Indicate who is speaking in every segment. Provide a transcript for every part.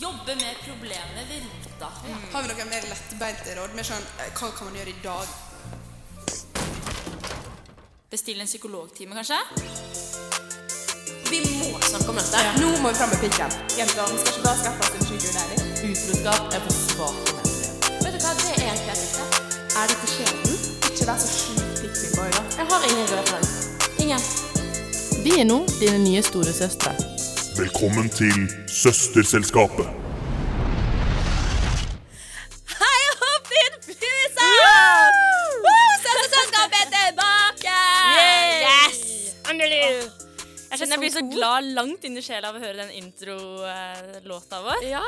Speaker 1: Jobbe med problemet ved rota.
Speaker 2: Har vi noen mer lettbeinte råd? Mer sånn eh, Hva kan man gjøre i dag?
Speaker 1: Bestille en psykologtime, kanskje?
Speaker 3: Vi må snakke om dette.
Speaker 2: Nå må vi fram med pikken.
Speaker 4: Jenter skal ikke bare skaffe oss en psykolæring.
Speaker 3: Utroskap er for svake mennesker.
Speaker 5: Vet du hva, det er en kjennelse.
Speaker 4: Er dette skjebnen? Ikke vær så sjuk pikkmilboy, da.
Speaker 5: Jeg har ingen gode referanser. Ingen.
Speaker 6: Vi er nå dine nye storesøstre.
Speaker 7: Velkommen til Søsterselskapet.
Speaker 5: Hei og finnfluser! Woo! Søsterselskapet er tilbake! Yes!
Speaker 8: Endelig! Jeg kjenner jeg blir så glad langt inn i sjela av å høre den introlåta vår.
Speaker 5: Ja.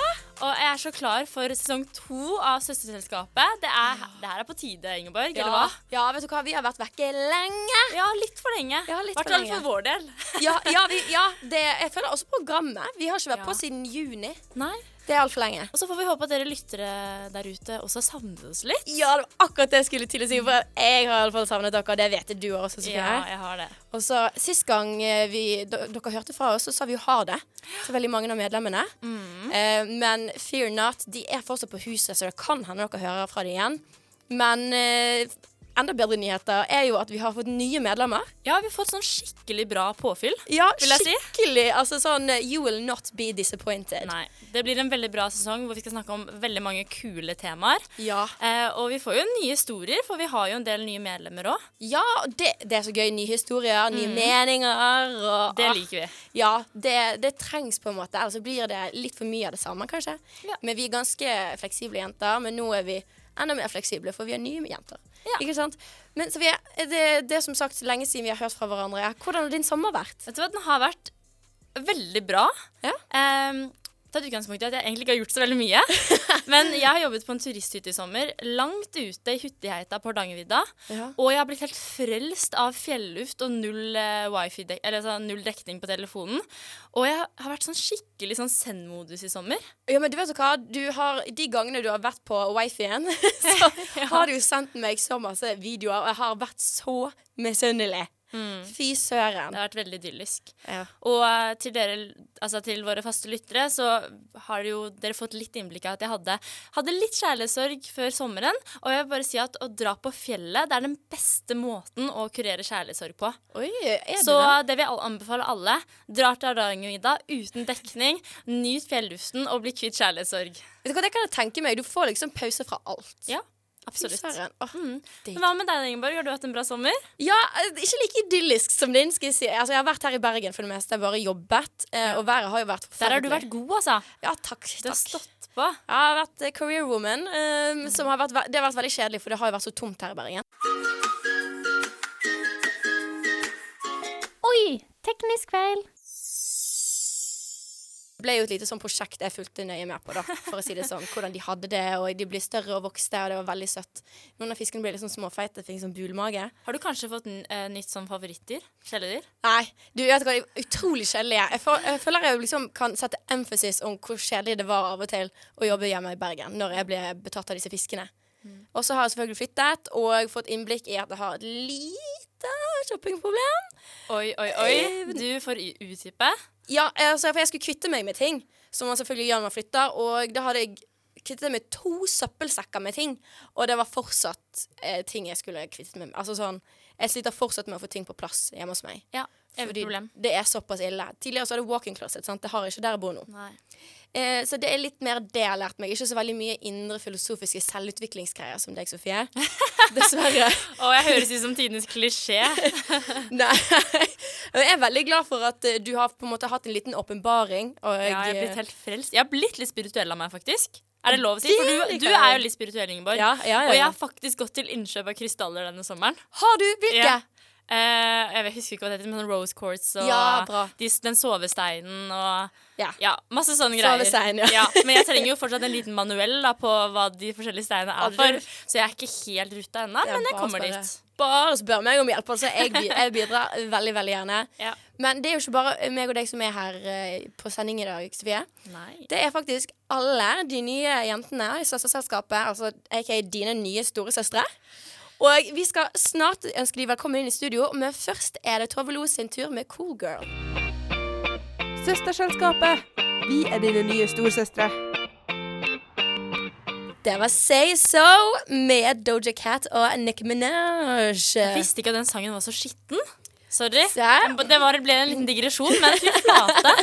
Speaker 8: Og jeg er så klar for sesong to av Søsterselskapet. Det, er, det her er på tide, Ingeborg.
Speaker 5: Ja.
Speaker 8: Eller hva?
Speaker 5: ja, vet du hva, vi har vært vekke lenge.
Speaker 8: Ja, litt for lenge.
Speaker 5: Ja, litt
Speaker 8: Hvert
Speaker 5: for
Speaker 8: fall
Speaker 5: lenge.
Speaker 8: for vår del.
Speaker 5: Ja, ja, vi, ja det, jeg føler også programmet. Vi har ikke vært
Speaker 8: Ja.
Speaker 5: på siden juni.
Speaker 8: Nei.
Speaker 5: Det er altfor lenge.
Speaker 8: Og så får vi håpe at dere lyttere der ute også savner oss litt.
Speaker 5: Ja, det var akkurat det jeg skulle til å si. For jeg har iallfall savnet dere, og det vet du også. Sofie.
Speaker 8: Ja, jeg har det.
Speaker 5: Og så Sist gang eh, vi, d- dere hørte fra oss, så sa vi jo ha det til veldig mange av medlemmene. Eh, men fear not, de er fortsatt på huset, så det kan hende dere hører fra dem igjen. Men eh, enda bedre nyheter er jo at vi har fått nye medlemmer.
Speaker 8: Ja, vi har fått sånn skikkelig bra påfyll.
Speaker 5: Ja,
Speaker 8: Vil jeg si?
Speaker 5: skikkelig. Altså sånn eh, You will not be disappointed.
Speaker 8: Nei. Det blir en veldig bra sesong hvor vi skal snakke om veldig mange kule temaer.
Speaker 5: Ja.
Speaker 8: Eh, og vi får jo nye historier, for vi har jo en del nye medlemmer òg.
Speaker 5: ja og det, det er så gøy. Nye historier, nye meninger. Og,
Speaker 8: Det
Speaker 5: ah,
Speaker 8: liker vi.
Speaker 5: Ja, det, det trengs på en måte. Ellers så blir det litt for mye av det samme, kanskje.
Speaker 8: Ja.
Speaker 5: Men vi er ganske fleksible jenter. Men nå er vi enda mer fleksible, for vi er nye jenter.
Speaker 8: Ja.
Speaker 5: Ikke sant? Men så vi er, det, det er som sagt lenge siden vi har hørt fra hverandre. Hvordan har din sommer vært?
Speaker 8: Vet du hva, den har vært veldig bra.
Speaker 5: Ja.
Speaker 8: Ehm, ta et utgangspunkt i at jeg egentlig ikke har gjort så veldig mye. Men jeg har jobbet på en turisthytte i sommer, langt ute i Huttigheita på Hardangervidda.
Speaker 5: Ja.
Speaker 8: Og jeg har blitt helt frelst av fjelluft og null, eh, wifi dek eller, sånn, null dekning på telefonen. Og jeg har vært sånn skikkelig sånn zen-modus i sommer.
Speaker 5: Ja, men du vet jo hva? Du har, de gangene du har vært på wifien, så har du jo sendt meg så masse videoer, og jeg har vært så misunnelig. Fy
Speaker 8: Det
Speaker 5: søren.
Speaker 8: har vært veldig idyllisk.
Speaker 5: Mm. Ja.
Speaker 8: Og eh, til, dere, altså til våre faste lyttere så har jo dere fått litt innblikk av at jeg hadde, hadde litt kjærlighetssorg før sommeren. Og jeg vil bare si at å dra på fjellet det er den beste måten å kurere kjærlighetssorg på.
Speaker 5: Oi, er
Speaker 8: Så
Speaker 5: det det?
Speaker 8: det vil jeg all- anbefale alle. Drar til Hardangervidda uten dekning. Nyt fjelluften og bli kvitt kjærlighetssorg.
Speaker 5: Vet du hva, det kan jeg tenke meg. Du får liksom pause fra alt.
Speaker 8: Ja,
Speaker 5: Fy
Speaker 8: absolutt.
Speaker 5: søren. Åh, digg.
Speaker 8: Men Hva med deg, Ingeborg? Har du hatt en bra sommer?
Speaker 5: Ja, eh, ikke like idyllisk som din. skal Jeg si Altså, jeg har vært her i Bergen for det meste. Jeg har bare jobbet. eh, Og været har jo vært
Speaker 8: Der har du
Speaker 5: forferdelig.
Speaker 8: vært god, altså.
Speaker 5: Ja, takk.
Speaker 8: Du har
Speaker 5: takk.
Speaker 8: stått Mm. på.
Speaker 5: Jeg har vært eh, career woman. eh, som har vært, ve- det har vært veldig kjedelig, for det har jo vært så tomt her i Bergen.
Speaker 9: Oi! Teknisk feil.
Speaker 5: Det ble jo et lite sånn prosjekt jeg fulgte nøye med på, da, for å si det sånn. Hvordan de hadde det, og de ble større og vokste, og det var veldig søtt. Noen av fiskene ble litt sånn småfeite, fikk sånn bulmage.
Speaker 8: Har du kanskje fått n- eh, nytt som favorittdyr? Kjæledyr?
Speaker 5: Nei, du vet hva, de er utrolig kjedelige. Jeg, får- jeg føler jeg liksom kan sette emphasis om hvor kjedelig det var av og til å jobbe hjemme i Bergen når jeg ble betatt av disse fiskene. Og så har jeg selvfølgelig flyttet og fått innblikk i at jeg har et lite shoppingproblem.
Speaker 8: Oi, oi, oi. Du får u- utdype.
Speaker 5: Ja, altså, for jeg skulle kvitte meg med ting, som man selvfølgelig gjør når man flytter, og da hadde jeg kvittet meg med to søppelsekker med ting, og det var fortsatt eh, ting jeg skulle kvittet meg med. Altså sånn, jeg sliter fortsatt med å få ting på plass hjemme hos meg.
Speaker 8: Ja, evig
Speaker 5: Fordi
Speaker 8: problem.
Speaker 5: det er såpass ille. Tidligere så hadde jeg walk-in closet. Sant? Det har jeg ikke der jeg bor nå.
Speaker 8: Nei.
Speaker 5: Eh, så det er litt mer det jeg har lært meg. Ikke så veldig mye indre filosofiske selvutviklingsgreier som deg, Sofie. Dessverre.
Speaker 8: Å, jeg høres ut som tidenes klisjé.
Speaker 5: Nei. Men Jeg er veldig glad for at eh, du har på en måte hatt en liten åpenbaring. og
Speaker 8: Ja, jeg har
Speaker 5: eh,
Speaker 8: blitt helt frelst. Jeg har blitt litt spirituell av meg, faktisk. Er det lov å si?
Speaker 5: Det
Speaker 8: For du,
Speaker 5: liker
Speaker 8: du
Speaker 5: jeg.
Speaker 8: er jo litt spirituell, Ingeborg.
Speaker 5: Ja, ja, ja,
Speaker 8: Og jeg
Speaker 5: ja.
Speaker 8: har faktisk gått til innkjøp av krystaller denne sommeren.
Speaker 5: Har du? Hvilke?
Speaker 8: Ja. Eh, jeg vet- husker ikke hva det heter, men sånn rose quartz og
Speaker 5: Ja, bra.
Speaker 8: de, den sovesteinen og
Speaker 5: Ja.
Speaker 8: ja, masse sånne greier.
Speaker 5: Sovestein, ja.
Speaker 8: Men jeg trenger jo fortsatt en liten manuell da, på hva de forskjellige steinene
Speaker 5: Ja,
Speaker 8: er
Speaker 5: det-
Speaker 8: for, så jeg er ikke helt ruta ennå,
Speaker 5: Det er
Speaker 8: men jeg
Speaker 5: bare
Speaker 8: kommer
Speaker 5: spennende.
Speaker 8: dit.
Speaker 5: Bare spør meg om hjelp. Altså, jeg, bi- jeg bidrar veldig, veldig gjerne.
Speaker 8: Ja.
Speaker 5: Men det er jo ikke bare meg og deg som er her eh, på sending i dag, Sofie.
Speaker 8: Nei.
Speaker 5: Det er faktisk alle de nye jentene i søsterselskapet, altså aka dine nye storesøstre. Og vi skal snart ønske de velkommen inn i studio, men først er det Tove Lo sin tur med Cool Girl.
Speaker 4: Søsterselskapet
Speaker 9: Vi er dine nye storesøstre.
Speaker 5: Det var Say So med Doja Cat og Nicki Minaj.
Speaker 8: Jeg visste ikke at den sangen var så skitten. Sorry.
Speaker 5: Eh. Se.
Speaker 8: Det var, ble en liten digresjon, men fy flate.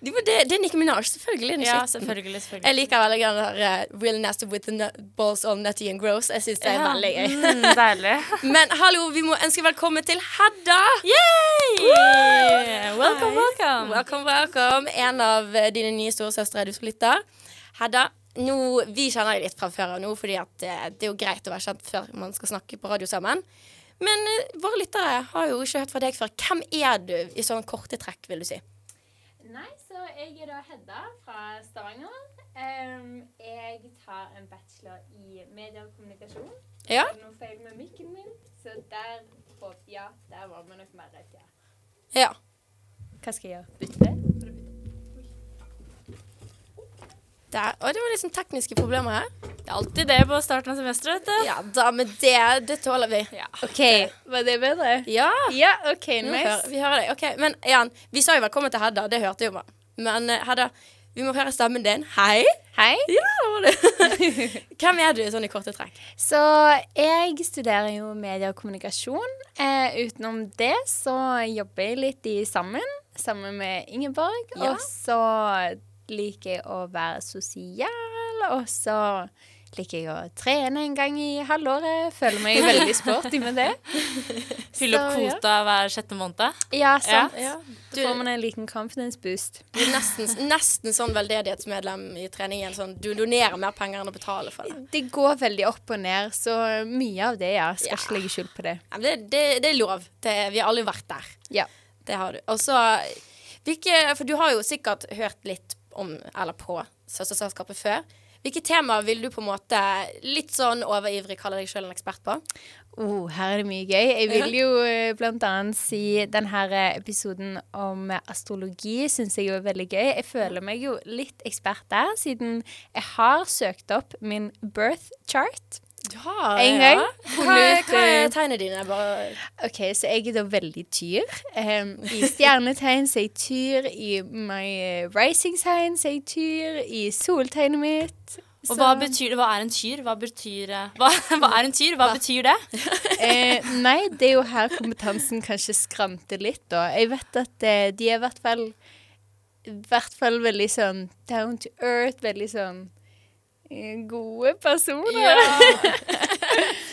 Speaker 5: Det, var- det, det er Nicki Minaj, selvfølgelig. Den
Speaker 8: Ja,
Speaker 5: skitten.
Speaker 8: selvfølgelig. selvfølgelig.
Speaker 5: Jeg liker veldig godt den der eh, Real Nasty with the nut, balls all nutty and gross. Jeg synes det er
Speaker 8: Ja.
Speaker 5: veldig gøy.
Speaker 8: Mm, deilig.
Speaker 5: Men hallo, vi må ønske velkommen til Hedda.
Speaker 8: Yay! Welcome, welcome.
Speaker 5: Welcome, welcome. En av eh, dine nye storesøstre du skal lytte. Hedda, nå, vi kjenner deg litt fra før av nå, fordi at eh, det er jo greit å være kjent før man skal snakke på radio sammen. Men eh, våre lyttere har jo ikke hørt fra deg før. Hvem er du i sånne korte trekk, vil du si?
Speaker 10: Nei, så jeg er da Hedda fra Stavanger. Ehm, jeg tar en bachelor i media og kommunikasjon.
Speaker 5: Ja.
Speaker 10: Det er noe feil med mikken min, så der håpet jeg Der var vi nok mer rett, ja.
Speaker 5: Ja.
Speaker 10: Hva skal jeg gjøre? Bytte?
Speaker 5: Der. Og det var litt sånn tekniske problemer her.
Speaker 8: Det er alltid det på starten av semesteret, vet du.
Speaker 5: Ja da, men det, det tåler vi.
Speaker 10: OK. Var det bedre?
Speaker 5: Ja.
Speaker 10: Ja, OK.
Speaker 5: Nå hører, vi hører deg. Ok, men igjen, Vi sa jo velkommen til Hedda, det hørte jo man. Men eh, Hedda, vi må høre stemmen din. Hei!
Speaker 10: Hei.
Speaker 5: Ja, det var det. Hvem er du sånn i korte trekk?
Speaker 10: Så jeg studerer jo media og kommunikasjon. Eh, utenom det så jobber jeg litt i Sammen, sammen med Ingeborg.
Speaker 5: Ja.
Speaker 10: Og så liker jeg å være sosial, og så liker jeg å trene en gang i halvåret. Føler meg veldig sporty med det.
Speaker 8: Fylle opp
Speaker 10: Så, ja.
Speaker 8: kvota hver sjette måned.
Speaker 10: Ja, sant.
Speaker 5: Ja.
Speaker 10: Så får man en liten confidence boost.
Speaker 5: Du er nesten, nesten sånn veldedighetsmedlem i treningen. Sånn, du donerer mer penger enn å betale for det.
Speaker 10: Det går veldig opp og ned, så mye av det, ja. Skal ikke legge skjul på det.
Speaker 5: Ja, men det, det, det er lov. Det, vi har alle vært der.
Speaker 10: Ja.
Speaker 5: Det har du. Og så hvilke, For du har jo sikkert hørt litt om eller på Søsterselskapet før. Hvilke temaer vil du på en måte litt sånn overivrig kalle deg sjøl en ekspert på?
Speaker 10: Oh, her er det mye gøy. Jeg vil jo eh, blant annet si den her eh, episoden om eh, astrologi syns jeg jo er veldig gøy. Jeg føler meg jo litt ekspert der, siden jeg har søkt opp min birth chart.
Speaker 5: Ja,
Speaker 10: En
Speaker 5: ja.
Speaker 10: gang.
Speaker 5: Hva,
Speaker 10: Funnet ut,
Speaker 5: hva
Speaker 10: eh,
Speaker 5: er tegnene dine? Bare,
Speaker 10: OK, så jeg er da veldig tyr. Em, I stjernetegn så er jeg tyr. I my eh, rising sign så er jeg tyr. I soltegnet mitt.
Speaker 8: Og
Speaker 10: Så,
Speaker 8: hva betyr det? Hva er en tyr? Hva betyr eh, Hva, hva er en tyr? Hva betyr det?
Speaker 10: eh, Nei, det er jo her kompetansen kanskje skranter litt, da. Jeg vet at eh, de er i hvert fall i hvert fall veldig sånn down to earth, veldig sånn eh, gode personer.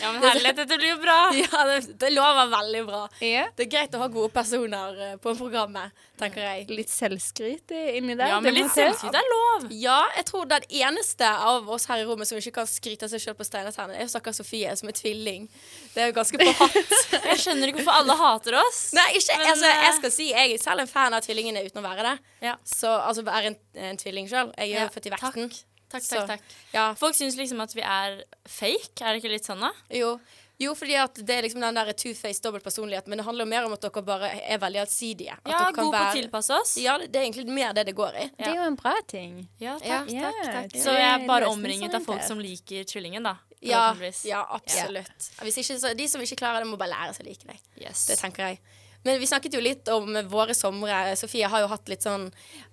Speaker 8: Ja, men herlighet, dette blir jo bra.
Speaker 5: ja, det, det lover veldig bra.
Speaker 10: Ja.
Speaker 5: Det er greit å ha gode personer eh, på programmet, tenker jeg.
Speaker 10: Litt selvskryt eh, inni der.
Speaker 8: Ja, men
Speaker 10: det må
Speaker 8: litt
Speaker 10: til.
Speaker 8: selvskryt er lov.
Speaker 5: Ja, jeg tror den eneste av oss her i rommet som ikke kan skryte av seg sjøl på steinertennene, er jo stakkars Sofie, som er tvilling. Det er jo ganske forhatt.
Speaker 8: Jeg skjønner ikke hvorfor alle hater oss.
Speaker 5: Nei, ikke,
Speaker 8: Men,
Speaker 5: altså,
Speaker 8: eh,
Speaker 5: jeg skal si jeg er selv en fan av tvillingene uten å være det.
Speaker 8: Ja.
Speaker 5: Så altså være en, en tvilling sjøl. Jeg
Speaker 8: Ja,
Speaker 5: er jo født i vekten.
Speaker 8: Takk,
Speaker 5: Så-
Speaker 8: takk, takk.
Speaker 5: Ja,
Speaker 8: Folk syns liksom at vi er fake. Er det ikke litt sånn, da?
Speaker 5: Jo. jo, fordi at det er liksom den der two-face dobbeltpersonlighet. Men det handler jo mer om at dere bare er veldig allsidige. At
Speaker 8: Ja,
Speaker 5: dere kan
Speaker 8: god på å
Speaker 5: være-
Speaker 8: tilpasse oss.
Speaker 5: Ja, det det er egentlig mer det det går i.
Speaker 10: Det er jo en bra ting.
Speaker 8: Ja,
Speaker 5: Ja.
Speaker 8: takk.
Speaker 10: Ja,
Speaker 8: Så jeg er bare
Speaker 10: nesten
Speaker 8: omringet
Speaker 10: som
Speaker 8: av folk
Speaker 10: en
Speaker 8: som liker tvillingen, da.
Speaker 5: Ja,
Speaker 8: forhåpentligvis.
Speaker 5: ja absolutt. Hvis ikke, så, de som ikke klarer det, må bare lære seg å like deg.
Speaker 8: Yes.
Speaker 5: Det tenker jeg. Men vi snakket jo litt om våre somre. Sofie har jo hatt litt sånn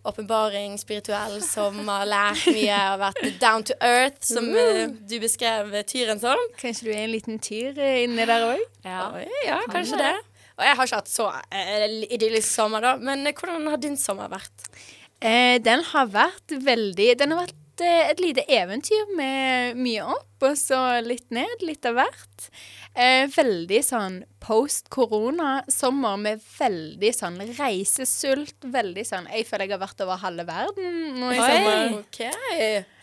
Speaker 5: åpenbaring, spirituell sommer, lært mye og vært down to earth, som eh, du beskrev tyren som.
Speaker 10: Kanskje du er en liten tyr eh, inni der òg?
Speaker 8: Ja.
Speaker 5: Oi, ja, kanskje det. Og jeg har ikke hatt så eh, idyllisk sommer, da. Men eh, hvordan har din sommer vært?
Speaker 10: Eh, den har vært veldig Den har vært eh, et lite eventyr med mye opp og så litt ned, litt av hvert. Eh, veldig sånn post korona-sommer med veldig sånn reisesult. Veldig sånn Jeg føler jeg har vært over halve verden nå i sommer.
Speaker 5: OK.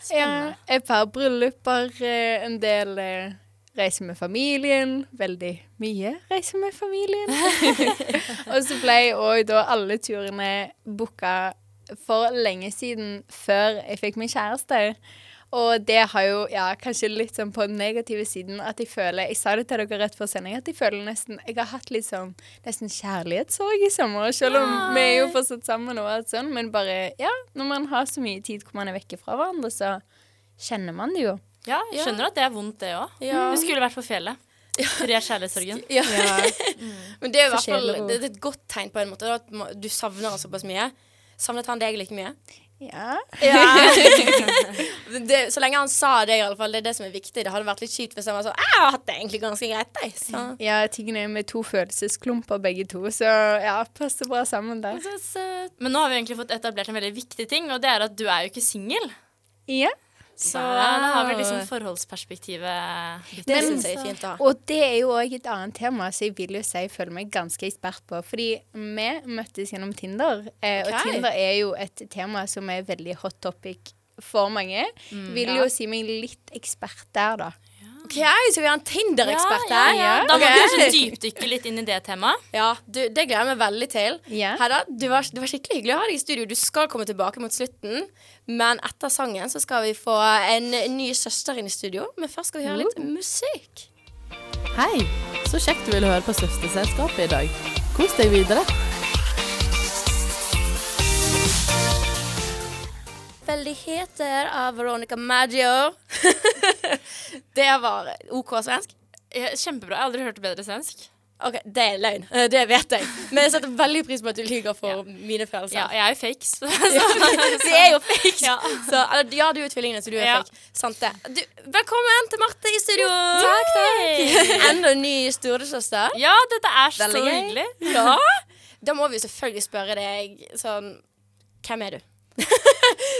Speaker 10: Ja, et par brylluper, eh, en del eh, reiser med familien. Veldig mye reiser med familien. og så ble òg da alle turene booka for lenge siden før jeg fikk min kjæreste. Og det har jo ja, kanskje litt sånn på den negative siden at jeg føler Jeg sa det til dere rett før sending at jeg føler nesten Jeg har hatt litt sånn nesten kjærlighetssorg i sommer. Selv om vi er jo fortsatt sammen og alt sånn, men bare Ja, når man har så mye tid hvor man er vekke fra hverandre, så kjenner man det jo.
Speaker 8: Ja, jeg skjønner at det er vondt, det òg. Vi skulle vært på fjellet. Tre kjærlighetssorgen.
Speaker 5: Ja. Men det er jo i hvert fall
Speaker 10: Forskjellig.
Speaker 5: det er et godt tegn på en måte da, at ma- du savner han såpass mye. Savnet han deg like mye?
Speaker 10: Ja.
Speaker 5: det, så lenge han sa det, i alle fall, det er det som er viktig. Det hadde vært litt kjipt hvis han var sånn Jeg har hatt det egentlig ganske greit, jeg. Så.
Speaker 8: Mm.
Speaker 10: ja, tingene er med to følelsesklumper begge to, så ja, passer bra sammen der.
Speaker 8: Så søt. Men nå har vi egentlig fått etablert en veldig viktig ting, og det er at du er jo ikke singel.
Speaker 10: Ja.
Speaker 8: Så da har vi liksom forholdsperspektivet.
Speaker 5: Det syns jeg er fint å ha.
Speaker 10: Og det er jo òg et annet tema, så jeg vil jo si jeg føler meg ganske ekspert på. Fordi vi møttes gjennom Tinder, eh, og
Speaker 5: Ok.
Speaker 10: Tinder er jo et tema som er veldig hot topic for mange.
Speaker 5: Mm,
Speaker 10: vil jo si meg litt ekspert der, da.
Speaker 5: OK, så vi har en Tinder-ekspert
Speaker 8: Ja,
Speaker 5: her.
Speaker 8: ja, ja. Da må vi
Speaker 5: Ok.
Speaker 8: kanskje dypdykke litt inn i det temaet.
Speaker 5: Ja, du, det gleder jeg meg veldig til.
Speaker 10: Ja.
Speaker 5: Hedda, det var, det var skikkelig hyggelig å ha deg i studio. Du skal komme tilbake mot slutten. Men etter sangen så skal vi få en ny søster inn i studio. Men først skal vi høre litt musikk.
Speaker 6: Hei! Så kjekt du ville høre på Søsterselskapet i dag. Kos deg videre.
Speaker 5: Veldigheter av Veronica Maggio. det var OK svensk.
Speaker 8: Eh, Kjempebra. Jeg har aldri hørt bedre svensk.
Speaker 5: OK, det er løgn. Eh, Det vet jeg. Men jeg setter veldig pris på at du lyver for mine følelser.
Speaker 8: Ja, jeg er jo fake, så
Speaker 5: Vi er jo fake.
Speaker 8: Ja.
Speaker 5: Så, eller, ja, du er tvillingene, så du er
Speaker 8: Ja.
Speaker 5: fake. Sant det. Du, velkommen til Marte i studio.
Speaker 8: Takk, takk.
Speaker 5: Enda en ny storesøster.
Speaker 8: Ja, dette er så
Speaker 5: Veldig gøy.
Speaker 8: hyggelig.
Speaker 5: Ja. Da må vi jo selvfølgelig spørre deg sånn Hvem er du?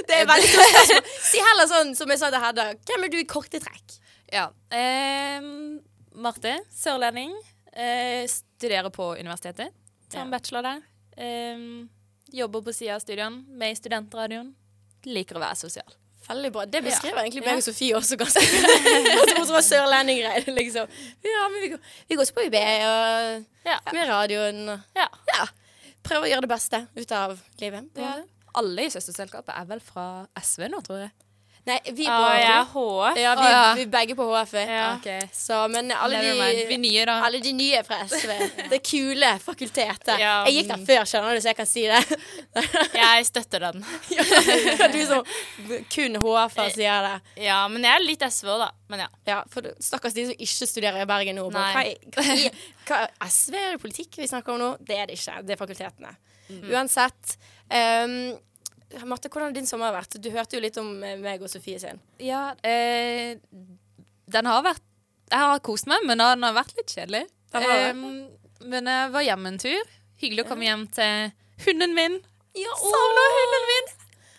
Speaker 5: det er veldig stort spørsmål. Si heller sånn som jeg sa til Hedda. Hvem er du i korte trekk?
Speaker 11: Ja. ehm, Marte, sørlending. eh, studerer på universitetet. Tar en bachelor der. Ehm, jobber på sida av studien, med i studentradioen. Liker å være sosial.
Speaker 5: Veldig bra. Det beskriver egentlig meg og Sofie også ganske godt. Hun var sørlendinggreie, liksom. Ja, men vi går, vi går også på UB og
Speaker 8: Ja.
Speaker 5: med radioen. og-
Speaker 8: Ja.
Speaker 5: ja. Prøve å gjøre det beste ut av livet. på en måte.
Speaker 11: Alle i søsterselskapet er vel fra SV nå, tror jeg.
Speaker 5: Nei, vi er på
Speaker 8: Å, jeg er
Speaker 5: HF.
Speaker 8: HF.
Speaker 5: Ah, Ja, vi,
Speaker 11: Å, ja.
Speaker 5: vi er begge på HF.
Speaker 8: Ja.
Speaker 11: Ok.
Speaker 5: Så, men alle
Speaker 11: Never mind. Vi er
Speaker 5: de,
Speaker 11: nye, da.
Speaker 5: alle de nye er fra SV. Det kule fakultetet.
Speaker 8: Ja.
Speaker 5: Jeg gikk der før, skjønner du, så jeg kan si det.
Speaker 8: Jeg støtter den.
Speaker 5: du som kun HF-er sier det.
Speaker 8: Ja, men jeg er litt SV òg, da. Men ja.
Speaker 5: Ja, for stakkars de som ikke studerer i Bergen nå. Bare,
Speaker 8: Nei.
Speaker 5: hva, hva, i- hva, SV er det politikk vi snakker om nå? Det er det ikke. Det er fakultetene.
Speaker 11: Mm.
Speaker 5: Uansett. ehm, Marte, hvordan har din sommer vært? Du hørte jo litt om eh, meg og Sofie sin.
Speaker 11: Ja, eh, den har vært Jeg har kost meg, men den har vært litt kjedelig.
Speaker 5: Den har det.
Speaker 11: Ehm, men jeg var hjemme en tur. Hyggelig å komme hjem til hunden min.
Speaker 5: Ja,
Speaker 11: Savner hunden min!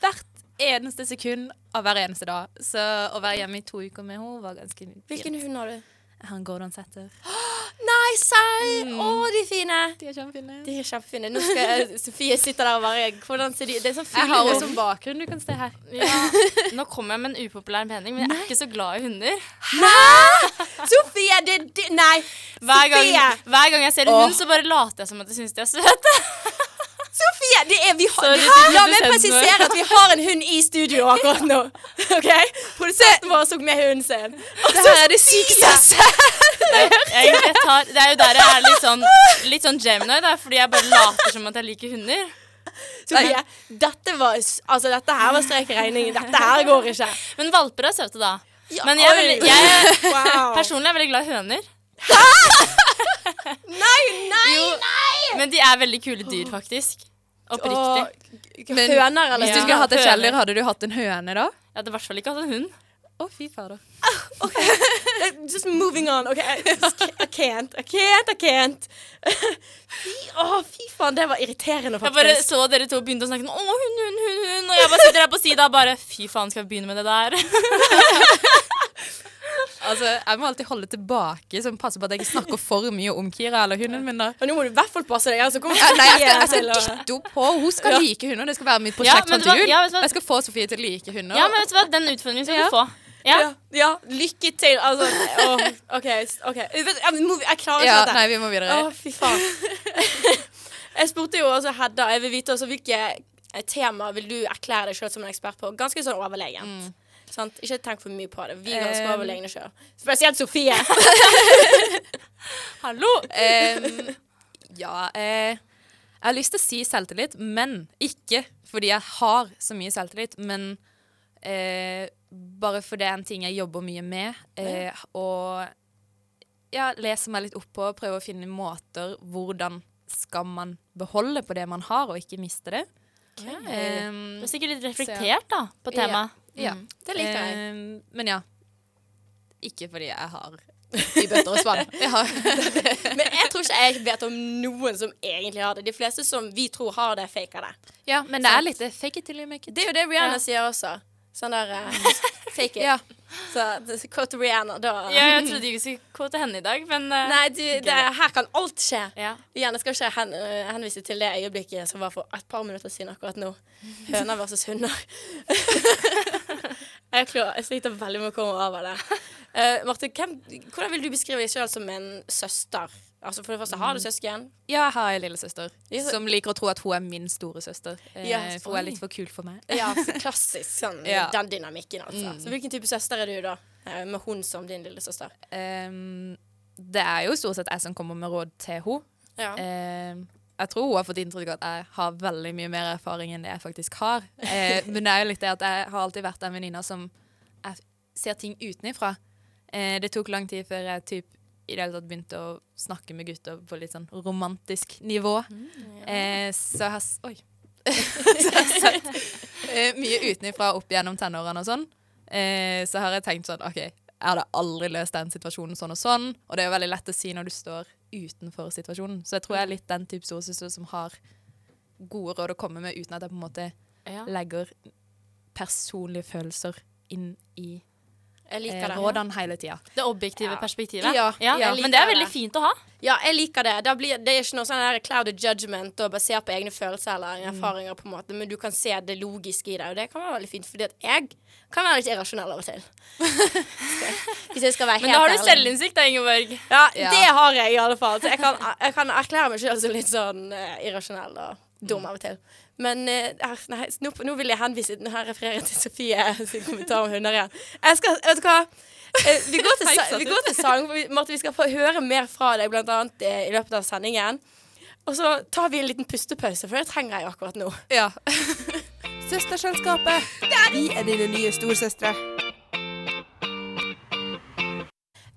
Speaker 11: Hvert eneste sekund av hver eneste dag. Så å være hjemme i to uker med henne var ganske fint.
Speaker 5: Hvilken hund har du?
Speaker 11: Jeg har en Gordon Setter. Mm.
Speaker 5: Nei, serr! Å, de er fine!
Speaker 11: De er kjempefine.
Speaker 5: De er kjempefine. Nå skal jeg, Sofie sitter der og bare Hvordan ser de Det er sånn
Speaker 11: Jeg har
Speaker 5: fuglehund.
Speaker 11: henne som bakgrunn. Du kan se her.
Speaker 8: Nå kommer jeg med en upopulær mening, men jeg er ikke så glad i hunder.
Speaker 5: Sofie, det, det Nei!
Speaker 8: Hver gang,
Speaker 5: Sofie!
Speaker 8: hver gang jeg ser en hund, så bare later jeg som at jeg syns de er søte.
Speaker 5: Sofie! Det er, vi har,
Speaker 8: Sorry,
Speaker 5: Hæ? La
Speaker 8: produsenten
Speaker 5: meg presisere
Speaker 8: vår.
Speaker 5: at vi har en hund i studio akkurat nå. Ok? Produsenten vår tok med hunden sin. Og så er det sykeste!
Speaker 8: Jeg, jeg tar, det er jo der jeg er litt sånn, litt sånn Gemini, da, fordi jeg bare later som at jeg liker hunder.
Speaker 5: Sofie, dette var Altså, dette her var strek i regningen. Dette her går ikke.
Speaker 8: Men valper er søte, da.
Speaker 5: Ja,
Speaker 8: Men jeg, er
Speaker 5: oi.
Speaker 8: veldig- jeg er-
Speaker 5: Wow.
Speaker 8: personlig er veldig glad i høner.
Speaker 5: Nei, nei,
Speaker 8: Men de er veldig kule dyr, faktisk. Oppriktig.
Speaker 5: nei! Høner, eller?
Speaker 11: Hvis du skulle hatt et kjæledyr, hadde du hatt en høne da?
Speaker 8: Jeg hadde i hvert fall ikke hatt en hund.
Speaker 11: Å, fy fader.
Speaker 5: Eh, Just moving on. OK, I, just, ca- I can't, I can't, I can't. Fy, å, fy faen, det var irriterende,
Speaker 8: Jeg bare
Speaker 5: faktisk.
Speaker 8: så dere to begynte å snakke sånn Å, hun, hun, hun, hun. Og jeg bare sitter her på sida og bare Fy faen, skal vi begynne med det der?
Speaker 11: Altså, jeg må alltid holde tilbake, så jeg passer på at jeg ikke snakker for mye om Kira eller hunden min. da.
Speaker 5: Og nå må du i hvert fall passe deg. Altså,
Speaker 11: Ja, nei, jeg skal, jeg skal dytte henne på. Hun skal like hunder. Det skal være mitt
Speaker 8: Ja,
Speaker 11: prosjekt
Speaker 8: men
Speaker 11: fram
Speaker 8: det var-
Speaker 11: til jul.
Speaker 8: ja, vet du hva-
Speaker 11: Jeg skal få Sofie til å like hunder.
Speaker 8: Ja, men vet du hva, den utfordringen skal
Speaker 11: Ja.
Speaker 8: du få. Ja.
Speaker 5: ja, ja, lykke til. Altså, å, OK. s- ok. Vet du, Jeg, må- jeg klarer ikke
Speaker 11: Ja,
Speaker 5: dette.
Speaker 11: nei, vi må videre.
Speaker 5: Å, fy faen. jeg spurte jo også Hedda, jeg vil vite også hvilke eh, tema vil du erklære deg sjøl som en ekspert på? Ganske sånn overlegent. Sant? Ikke tenk for mye på det. Vi er ganske
Speaker 11: Eh.
Speaker 5: overlegne sjøl. Spesielt Sofie.
Speaker 8: Hallo!
Speaker 11: Em, ja eh, Jeg har lyst til å si selvtillit, men ikke fordi jeg har så mye selvtillit, men eh, bare for det er en ting jeg jobber mye med. Eh, og ja, leser meg litt opp på, prøver å finne måter hvordan skal man beholde på det man har, og ikke miste det. Ehm,
Speaker 12: Du er sikkert litt reflektert da, på
Speaker 11: Ja.
Speaker 12: temaet.
Speaker 11: Ja.
Speaker 12: Mm.
Speaker 11: Ehm, men ja. Ikke fordi jeg har i bøtter og spann. Jeg har
Speaker 5: Eh, Men jeg tror ikke jeg vet om noen som egentlig har det. De fleste som vi tror har det, faker det.
Speaker 11: Ja, men det er litt det. fake it till you make it.
Speaker 5: Det er jo det Rihanna
Speaker 11: Ja.
Speaker 5: sier også. Sånn der eh, fake it. Så det- quote Rihanna, da
Speaker 12: Ja, jeg trodde ikke vi skulle gå til henne i dag, men eh,
Speaker 5: Nei, du, det, her kan alt skje.
Speaker 12: Ja.
Speaker 5: Igjen, jeg skal ikke hen, eh, henvise til det øyeblikket som var for et par minutter siden akkurat nå. Høner versus hunder. jeg, klarer, jeg sliter veldig med å komme over det. Eh, Marte, hvem, hvordan vil du beskrive deg selv som en søster? Altså For det første, har du søsken?
Speaker 11: Ja, jeg har en lillesøster
Speaker 5: Ja, så-
Speaker 11: som liker å tro at hun er min storesøster. Eh,
Speaker 5: Ja,
Speaker 11: for hun er
Speaker 5: oi.
Speaker 11: litt for kul for meg.
Speaker 5: Ja, så klassisk sånn,
Speaker 11: Ja.
Speaker 5: den dynamikken, altså.
Speaker 11: Mm.
Speaker 5: Så hvilken type søster er du, da? Eh, Med hun som din lillesøster.
Speaker 11: Ehm, det er jo stort sett jeg som kommer med råd til henne.
Speaker 5: Ja.
Speaker 11: Ehm, jeg tror hun har fått inntrykk av at jeg har veldig mye mer erfaring enn det jeg faktisk har. Eh, men det er jo litt det at jeg har alltid vært den venninna som jeg ser ting utenifra. Eh, det tok lang tid før jeg typ, i det hele tatt begynte å snakke med gutter på litt sånn romantisk nivå. eh, så jeg har s- Oi. så jeg har sett eh, mye utenifra opp gjennom tenårene og sånn. Eh, så har jeg tenkt sånn OK, jeg hadde aldri løst den situasjonen sånn og sånn. Og det er jo veldig lett å si når du står utenfor situasjonen. Så jeg tror jeg er litt den type storesøster som har gode råd å komme med uten at jeg på en måte
Speaker 12: Ja.
Speaker 11: legger personlige følelser inn i
Speaker 5: Jeg liker
Speaker 11: eh,
Speaker 5: det.
Speaker 11: rådene hele tida.
Speaker 12: det objektive perspektivet.
Speaker 5: Ja, jeg liker
Speaker 12: Men det er veldig
Speaker 5: det.
Speaker 12: fint å ha.
Speaker 5: Ja, jeg liker det. Da blir, det er ikke noe sånn der cloud of judgment og basert på egne følelser eller
Speaker 12: Mm.
Speaker 5: erfaringer, på en måte, men du kan se det logiske i det, og det kan være veldig fint, fordi at jeg kan være litt irrasjonell av og til. Hvis jeg skal være helt
Speaker 12: Men da har du
Speaker 5: ærlig.
Speaker 12: selvinnsikt da, Ingeborg.
Speaker 5: Ja, det har jeg i alle fall. Så jeg kan, jeg kan erklære meg selv som litt sånn eh, irrasjonell og dum av og til. Men eh, ah, nei, nå, nå vil jeg henvise Nå har jeg referert til Sofie sin kommentar om hunder igjen. Jeg skal, vet du hva? Eh, Vi går til, sa- vi går til sang. for vi- Marte, vi skal få høre mer fra deg, blant annet eh, i løpet av sendingen. Og så tar vi en liten pustepause, for det trenger jeg akkurat nå.
Speaker 11: Ja.
Speaker 9: Søsterselskapet. Vi er dine nye storsøstre.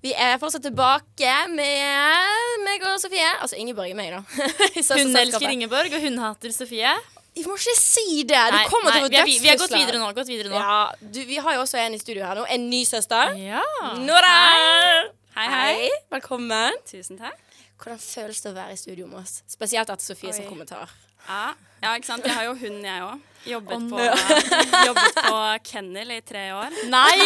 Speaker 5: Vi er fortsatt tilbake med meg og Sofie. Altså Ingeborg er meg, da. I
Speaker 12: Hun
Speaker 5: søsterselskapet.
Speaker 12: elsker Ingeborg, og hun hater Sofie.
Speaker 5: Vi må ikke si det! Du kommer til å få
Speaker 12: vi, er, vi, vi har gått
Speaker 5: dødstrusler.
Speaker 12: videre nå. Gått videre nå.
Speaker 5: Ja, du, vi har jo også en i studio her nå. En ny søster.
Speaker 12: Ja.
Speaker 5: Nora!
Speaker 12: Hei, hei.
Speaker 5: Velkommen.
Speaker 12: Tusen takk.
Speaker 5: Hvordan føles det å være i studio med oss? Spesielt etter Sofie sin
Speaker 8: Oi.
Speaker 5: kommentar.
Speaker 8: Ja, ja, ikke sant. Jeg har jo hund, jeg òg. Jobbet,
Speaker 12: Å,
Speaker 8: på- jobbet på kennel i tre år.
Speaker 12: Nei!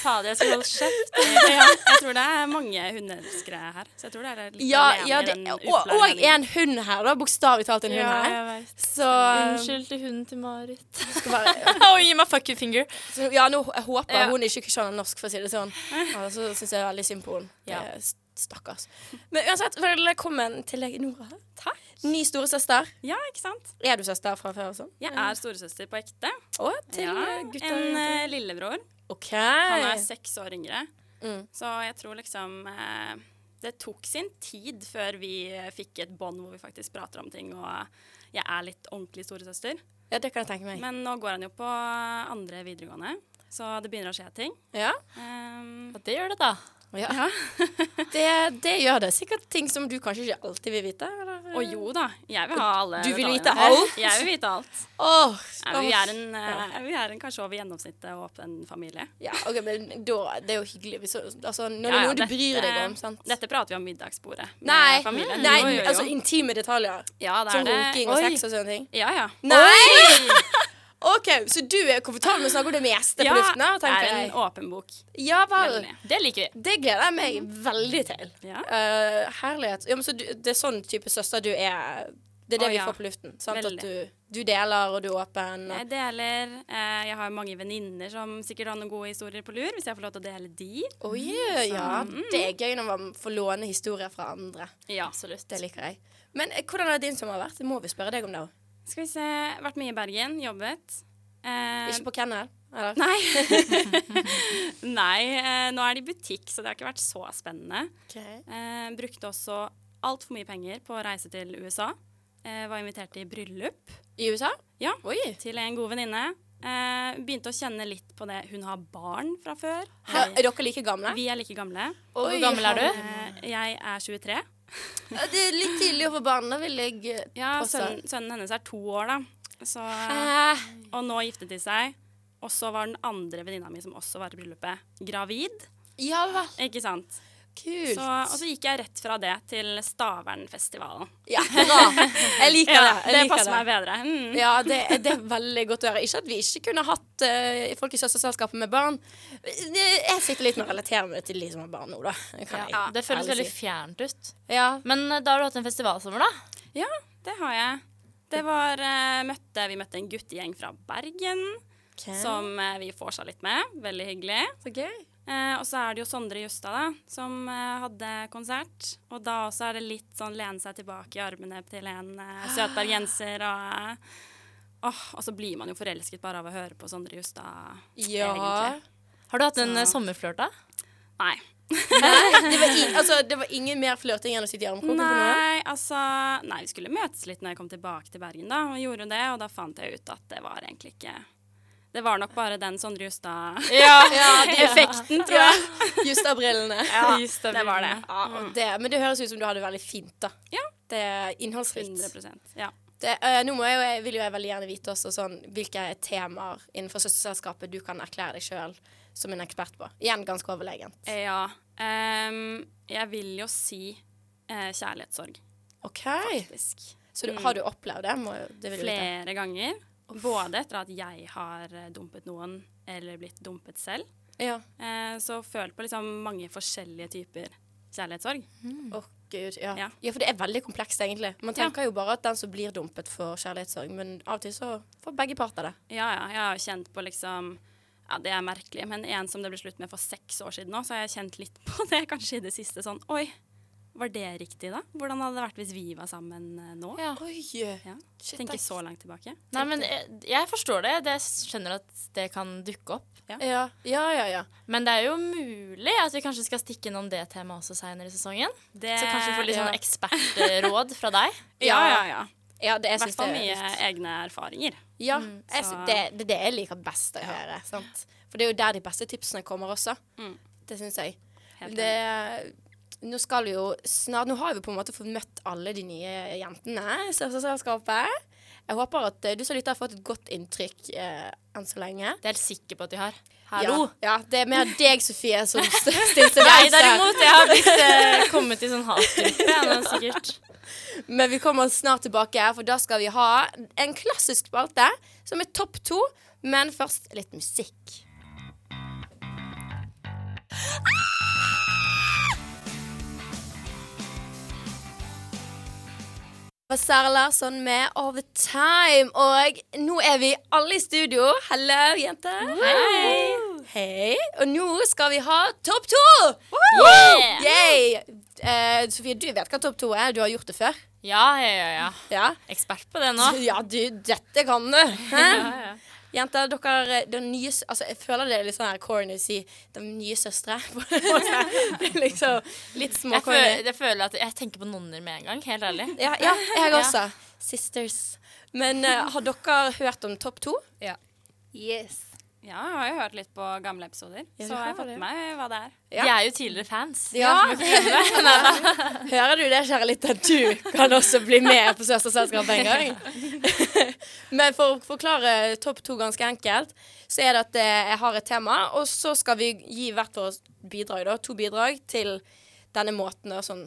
Speaker 8: Fader, jeg skulle holdt kjeft. Ja, jeg tror det er mange hundeelskere her. Så jeg tror dere er litt
Speaker 5: Ja,
Speaker 8: alene
Speaker 5: ja
Speaker 8: i
Speaker 5: det,
Speaker 8: den
Speaker 5: og,
Speaker 8: uklare
Speaker 5: og
Speaker 8: meningen.
Speaker 5: en hund her, da. Bokstavelig talt en hund
Speaker 8: Ja,
Speaker 5: her. Um,
Speaker 8: jeg vet.
Speaker 5: Så
Speaker 12: Unnskyld til hunden til Marit.
Speaker 5: skal bare-
Speaker 12: Og gi meg fuck you finger.
Speaker 5: Så, ja, nå, jeg håper
Speaker 12: Ja.
Speaker 5: hun ikke skjønner norsk, for å si det sånn. Ja, så syns jeg veldig synd på henne.
Speaker 12: Ja.
Speaker 5: Eh, s- Stakkars. Men uansett, velkommen til deg, Nora. Takk. Ny storesøster.
Speaker 8: Ja, ikke sant.
Speaker 5: Er du søster fra før og sånn?
Speaker 8: Jeg er storesøster på ekte.
Speaker 5: Å, til
Speaker 8: ja,
Speaker 5: eh, gutter.
Speaker 8: En eh, lillebror.
Speaker 5: OK.
Speaker 8: Han er seks år yngre.
Speaker 5: Mm.
Speaker 8: Så jeg tror liksom eh, Det tok sin tid før vi eh, fikk et bånd hvor vi faktisk prater om ting, og eh, jeg er litt ordentlig storesøster.
Speaker 5: Ja, det kan jeg tenke meg.
Speaker 8: Men nå går han jo på andre videregående, så det begynner å skje ting.
Speaker 5: ja.
Speaker 8: Ehm,
Speaker 12: Og det gjør det, da.
Speaker 5: Ja. det, det gjør det. Sikkert ting som du kanskje ikke alltid vil vite. Eller?
Speaker 8: og jo da, jeg vil ha alle
Speaker 5: Du vil
Speaker 8: detaljene.
Speaker 5: vite alt?
Speaker 8: Jeg vil vite alt.
Speaker 5: Åh,
Speaker 8: Nei, men vi er en, eh, vi er en kanskje over gjennomsnittet åpen familie.
Speaker 5: Ja, ok, men da, Det er jo hyggelig. Hvis, altså, når
Speaker 8: Ja,
Speaker 5: det er
Speaker 8: ja,
Speaker 5: noe du
Speaker 8: dette-
Speaker 5: bryr deg om. sant?
Speaker 8: Dette prater vi om middagsbordet med
Speaker 5: Nei,
Speaker 8: familien.
Speaker 5: nei
Speaker 8: Jo, jo, jo.
Speaker 5: altså intime detaljer.
Speaker 8: ja, det er
Speaker 5: Som
Speaker 8: det.
Speaker 5: runking og
Speaker 12: Oi.
Speaker 5: sex og sånne ting.
Speaker 8: Ja, ja.
Speaker 5: Nei! OK, så du er komfortabel med å snakke om det meste
Speaker 8: Ja,
Speaker 5: på luften? da,
Speaker 8: er
Speaker 5: tenker
Speaker 8: en
Speaker 5: jeg.
Speaker 8: åpen bok.
Speaker 5: Ja vel.
Speaker 8: Veldig.
Speaker 12: Det liker vi.
Speaker 5: Det gleder jeg meg veldig til.
Speaker 8: Mm. Ja.
Speaker 5: Eh, herlighet. Ja, men så du, det er sånn type søster du er? Det er det
Speaker 8: Å,
Speaker 5: vi
Speaker 8: ja.
Speaker 5: får på luften? Sant?
Speaker 8: Veldig.
Speaker 5: At du, du deler, og du er åpen? og-
Speaker 8: Jeg deler. Eh, jeg har mange venninner som sikkert har noen gode historier på lur, hvis jeg får lov til å dele de.
Speaker 5: Oi,
Speaker 8: sånn.
Speaker 5: ja. Det er gøy når man får låne historier fra andre.
Speaker 8: Ja, absolutt.
Speaker 5: Det liker jeg. Men eh, hvordan har din sommer vært? Det må vi spørre deg om det òg.
Speaker 8: Skal vi se. Vært mye i Bergen, jobbet. Eh,
Speaker 5: Ikke på kennel? Eller?
Speaker 8: Nei. Nei, eh, nå er det i butikk, så det har ikke vært så spennende.
Speaker 5: Ok.
Speaker 8: Eh, brukte også altfor mye penger på å reise til USA. Eh, var invitert i bryllup.
Speaker 5: I USA?
Speaker 8: Ja,
Speaker 5: Oi.
Speaker 8: til en god venninne. Eh, begynte å kjenne litt på det. Hun har barn fra før.
Speaker 5: Hæ, er dere like gamle?
Speaker 8: Vi er like gamle.
Speaker 12: Og hvor
Speaker 5: Oi,
Speaker 12: gammel er du?
Speaker 8: Eh, jeg er 23.
Speaker 5: Ja, Det er litt tidlig å få barn, da vil jeg eh,
Speaker 8: Ja,
Speaker 5: påstå.
Speaker 8: sønnen, sønnen hennes er to år, da.
Speaker 13: Så,
Speaker 8: Ah.
Speaker 13: og nå giftet de seg. Og så var den andre venninna mi som også var i bryllupet, gravid.
Speaker 5: Ja vel.
Speaker 13: Ikke sant?
Speaker 5: Kult.
Speaker 13: Så, og så gikk jeg rett fra det til Stavernfestivalen.
Speaker 5: Ja, bra. Jeg liker
Speaker 13: Ja,
Speaker 5: det. Jeg
Speaker 13: det
Speaker 5: liker
Speaker 13: passer meg bedre. Mm.
Speaker 5: Ja, det, det er veldig godt å høre. Ikke at vi ikke kunne hatt eh, folk i søsterselskapet med barn. Jeg sitter litt med å relatere meg til de som har barn nå, da.
Speaker 8: Ja, det føles veldig fjernt ut.
Speaker 5: Ja.
Speaker 8: Men eh, da har du hatt en festivalsommer, da?
Speaker 13: Ja, det har jeg. Det var, eh, møtte, vi møtte en guttegjeng fra Bergen som eh, vi vorsa litt med. Veldig hyggelig.
Speaker 5: Så gøy.
Speaker 13: Eh, og så er det jo Sondre Justad da, som eh, hadde konsert. Og da også er det litt sånn lene seg tilbake i armene til en eh, søt bergenser. Og, eh, åh, og så blir man jo forelsket bare av å høre på Sondre Justad,
Speaker 5: Ja.
Speaker 13: egentlig.
Speaker 8: Har du hatt en
Speaker 13: Så-
Speaker 8: eh, sommerflørt, da?
Speaker 13: Nei.
Speaker 5: Nei, det var, i- altså, det var ingen mer flørting enn å sitte i armkroken på noen?
Speaker 13: Nei, altså Nei, vi skulle møtes litt når jeg kom tilbake til Bergen, da, og gjorde det, og da fant jeg ut at det var egentlig ikke Det var nok bare den Sondre
Speaker 5: Ja, ja, det-
Speaker 13: Justad-effekten, tror
Speaker 5: Ja,
Speaker 13: jeg.
Speaker 5: Just av brillene.
Speaker 13: Ja, Just av
Speaker 5: det var det.
Speaker 13: brillene.
Speaker 5: Ja, og det. Men det høres ut som du har det veldig fint, da. Det er innholdsrikt.
Speaker 13: 100%, ja.
Speaker 5: Det, eh, nå må jeg, jo- jeg vil jo jeg veldig gjerne vite også sånn, hvilke temaer innenfor søsterselskapet du kan erklære deg sjøl som en ekspert på. Igjen ganske overlegent.
Speaker 13: Eh, Ja. ehm, jeg vil jo si eh, kjærlighetssorg.
Speaker 5: OK.
Speaker 13: Faktisk.
Speaker 5: Så du,
Speaker 13: Mm.
Speaker 5: har du opplevd det? Må, jo- det vil jeg vite.
Speaker 13: Flere ganger. Både etter at jeg har eh, dumpet noen, eller blitt dumpet selv.
Speaker 5: Ja.
Speaker 13: Eh, så følt på liksom mange forskjellige typer kjærlighetssorg.
Speaker 5: Å, Gud, Mm. ja.
Speaker 13: Ja.
Speaker 5: Ja. for det er veldig komplekst, egentlig. Man tenker jo bare at den som blir dumpet, får kjærlighetssorg, men av og til så får begge parter det.
Speaker 13: Ja, ja. Jeg har kjent på liksom ja, Det er merkelig, men en som det ble slutt med for seks år siden nå, så har jeg kjent litt på det kanskje i det siste. Sånn Oi, var det riktig, da? Hvordan hadde det vært hvis vi var sammen eh, nå?
Speaker 8: Ja.
Speaker 5: Oi.
Speaker 13: Ja.
Speaker 5: Shit,
Speaker 13: Tenker
Speaker 5: ass.
Speaker 13: så langt tilbake.
Speaker 8: Nei, men jeg, jeg forstår det. Det skjønner at det kan dukke opp.
Speaker 13: Ja.
Speaker 5: Ja, ja, ja.
Speaker 8: Men det er jo mulig at vi kanskje skal stikke innom det temaet også seinere i sesongen. Så kanskje vi får litt
Speaker 5: ja.
Speaker 8: sånn ekspertråd fra deg.
Speaker 13: Ja, ja, ja.
Speaker 5: Ja, det,
Speaker 13: I
Speaker 5: jeg
Speaker 13: hvert
Speaker 5: synes det
Speaker 13: fall
Speaker 5: er
Speaker 13: mye
Speaker 5: litt-
Speaker 13: egne erfaringer.
Speaker 5: Ja,
Speaker 13: Mm,
Speaker 5: jeg
Speaker 13: så-
Speaker 5: sy- det det er det jeg liker best å høre. Sant? For det er jo der de beste tipsene kommer også.
Speaker 13: Mm.
Speaker 5: Det syns jeg.
Speaker 13: Helt
Speaker 5: Det, nå skal vi jo snart Nå har vi på en måte fått møtt alle de nye jentene i Søsterselskapet. Jeg håper at eh, du som lytter har fått et godt inntrykk eh, enn så lenge.
Speaker 8: Det er jeg helt sikker på at de har. Hallo!
Speaker 5: Ja, ja, det er mer deg, Sofie, som st- stilte
Speaker 8: Jeg
Speaker 5: venstre.
Speaker 8: derimot, jeg har blitt eh, kommet i sånn hatgruppe, jeg nå sikkert.
Speaker 5: Men vi kommer snart tilbake, for da skal vi ha en klassisk spalte som er topp to. Men først litt musikk. Ah! Det var Sara Larsson med All The Time. Og nå er vi alle i studio. Hello, jenter. Hei. Hei. Og nå skal vi ha topp to!
Speaker 8: Yeah.
Speaker 5: Yay. Eh, Sofie, du vet hva topp to er. Du har gjort det før.
Speaker 8: Ja, ja, ja, ja.
Speaker 5: Ja.
Speaker 8: Ekspert på det nå.
Speaker 5: Ja, du, dette kan du. Hæ?
Speaker 8: Ja, ja.
Speaker 5: Jenter, dere den nye, s- altså, Jeg føler det er litt sånn her corny å si 'de nye søstre'. på en måte. liksom litt
Speaker 8: Jeg føler,
Speaker 5: småcorny.
Speaker 8: jeg føler at jeg tenker på nonner med en gang, helt ærlig.
Speaker 5: Ja, ja, jeg også. Sisters. Men eh, har dere hørt om Topp to?
Speaker 11: Ja.
Speaker 10: Yes.
Speaker 13: Ja, jeg har jo hørt litt på gamle episoder,
Speaker 5: Ja, du
Speaker 13: så jeg
Speaker 5: har
Speaker 13: har fått
Speaker 5: det.
Speaker 13: med meg hva det er.
Speaker 5: Ja.
Speaker 8: De er jo tidligere fans.
Speaker 5: Ja. Hører du det, kjære lytter? Du kan også bli med på Søsterselskapet en gang. Men for å forklare topp to ganske enkelt, så er det at eh, jeg har et tema, og så skal vi gi hvert vårt bidrag, da. To bidrag til denne måten. Da, sånn.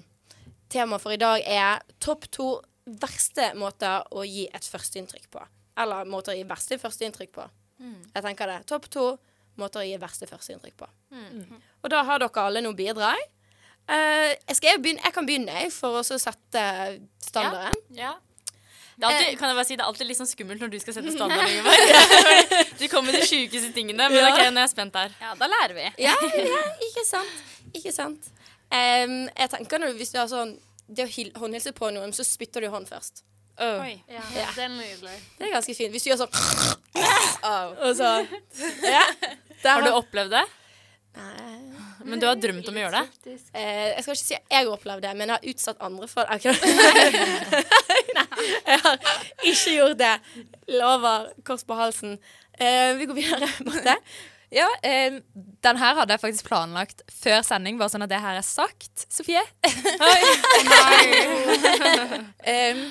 Speaker 5: Temaet for i dag er topp to verste måter å gi et førsteinntrykk på. Eller måter å gi verste førsteinntrykk på. Jeg tenker det. Topp to måter å gi verste førsteinntrykk på. Og da har dere alle noen bidrag. Eh, jeg, skal, jeg, begynne, jeg kan begynne, jeg, for å så sette standarden.
Speaker 8: Ja. Det er alltid, kan jeg bare si, det er alltid litt sånn skummelt når du skal sette standard, Ingeborg. Du kommer med de sjukeste tingene, men
Speaker 5: Ja.
Speaker 8: ok, nå er jeg spent her.
Speaker 13: Ja, da lærer vi.
Speaker 5: Ja, ja, ikke sant. Ikke sant. Em, jeg tenker når, Hvis du har sånn det å hil- håndhilse på noen, så spytter du hånd først.
Speaker 10: Oi. Ja, det er nydelig.
Speaker 5: Det er ganske fint. Hvis du gjør sånn Og så ja, der
Speaker 8: Har du
Speaker 5: var-
Speaker 8: opplevd det?
Speaker 5: Nei.
Speaker 8: Men du har drømt om å gjøre det?
Speaker 5: Eh, jeg skal ikke si at jeg har opplevd det, men jeg har utsatt andre for det. Nei, jeg har ikke gjort det. Lover. Kors på halsen. Eh, vi går videre, Marte.
Speaker 11: Ja, eh, den her hadde jeg faktisk planlagt før sending, bare sånn at det her er sagt, Sofie. Em,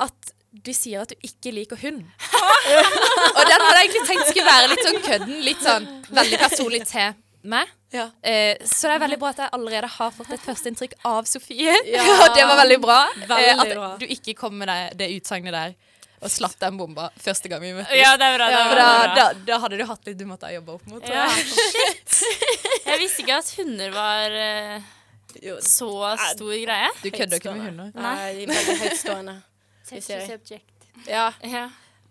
Speaker 11: at Du sier at du ikke liker hund. og den hadde jeg egentlig tenkt skulle være litt sånn kødden. Litt sånn veldig personlig til meg. Eh, så det er veldig bra at jeg allerede har fått et førsteinntrykk av Sofie.
Speaker 8: Ja.
Speaker 11: Og det var veldig bra. Eh,
Speaker 8: Veldig
Speaker 11: at
Speaker 8: bra.
Speaker 11: du ikke kom med det, det utsagnet der og slapp den bomba første gang vi møttes.
Speaker 8: Ja, det er bra, det er
Speaker 11: For da,
Speaker 8: bra, det er
Speaker 11: da,
Speaker 8: bra.
Speaker 11: da hadde du hatt litt du måtte ha jobba opp mot. tror
Speaker 8: Ja,
Speaker 11: jeg.
Speaker 8: shit! Jeg visste ikke at hunder var eh, så stor greie.
Speaker 11: Du kødder ikke med hunder.
Speaker 5: Nei, de er veldig høytstående. Skal vi se.
Speaker 13: Sexual subject.
Speaker 5: Ja.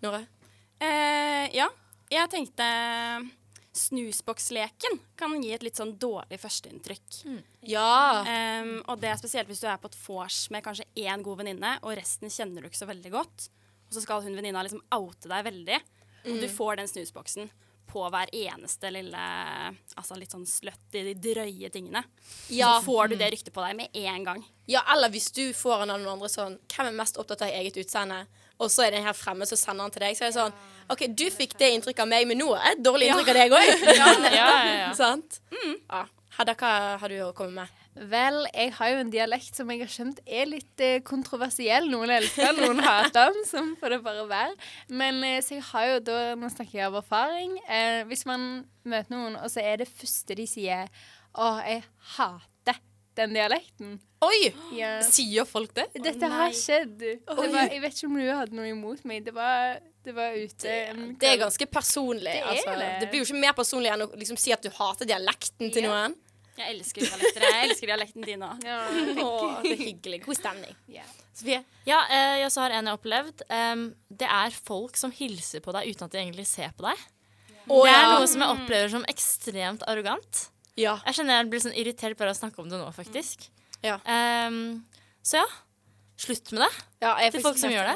Speaker 13: Nora? Eh, ja. Jeg tenkte snusboksleken kan gi et litt sånn dårlig førsteinntrykk.
Speaker 8: Mm.
Speaker 5: Ja.
Speaker 13: Em, og det er spesielt hvis du er på et vors med kanskje én god venninne, og resten kjenner du ikke så veldig godt. Og så skal hun venninna liksom oute deg veldig, og du
Speaker 8: Mm.
Speaker 13: får den snusboksen på hver eneste lille altså litt sånn sløtt i de drøye tingene.
Speaker 5: Ja.
Speaker 13: Så får du det ryktet på deg med en gang.
Speaker 5: Ja, eller hvis du får en av noen andre sånn Hvem er mest opptatt av eget utseende? Og så er det en her fremme som sender han til deg. Så er det sånn OK, du fikk det inntrykket av meg, men nå er det et dårlig
Speaker 13: Ja.
Speaker 5: inntrykk av deg òg.
Speaker 10: Ja, ja, ja, ja.
Speaker 5: Sant? Ja. Hedda, hva har du å komme med?
Speaker 10: Vel, jeg har jo en dialekt som jeg har skjønt er litt eh, kontroversiell. Noen elsker den, noen hater den. Sånn får det bare være. Men eh, så jeg har jo da, nå snakker jeg av erfaring, eh, hvis man møter noen, og så er det første de sier Å, jeg hater den dialekten.
Speaker 5: Oi!
Speaker 10: Ja.
Speaker 11: Sier folk det?
Speaker 10: Dette har skjedd. Det
Speaker 5: Oi.
Speaker 10: var, jeg vet ikke om du hadde noe imot meg. Det var, det var ute en
Speaker 5: Det er ganske personlig.
Speaker 10: Det
Speaker 5: Det,
Speaker 10: er
Speaker 5: altså. det.
Speaker 10: det.
Speaker 5: blir jo ikke mer personlig enn å liksom, si at du hater dialekten til noen.
Speaker 13: Jeg elsker dialekter. Jeg elsker dialekten din òg.
Speaker 5: Å, så hyggelig. God stemning. Sofie?
Speaker 8: Ja, eh, jeg også har en jeg har opplevd. Em, det er folk som hilser på deg uten at de egentlig ser på deg.
Speaker 5: Å,
Speaker 8: det er
Speaker 5: ja.
Speaker 8: noe som jeg opplever som ekstremt arrogant. Jeg kjenner jeg blir sånn irritert bare av å snakke om det nå, faktisk. Em, så ja, slutt med det.
Speaker 5: jeg er
Speaker 8: Til
Speaker 5: faktisk
Speaker 8: folk som
Speaker 5: helt
Speaker 8: gjør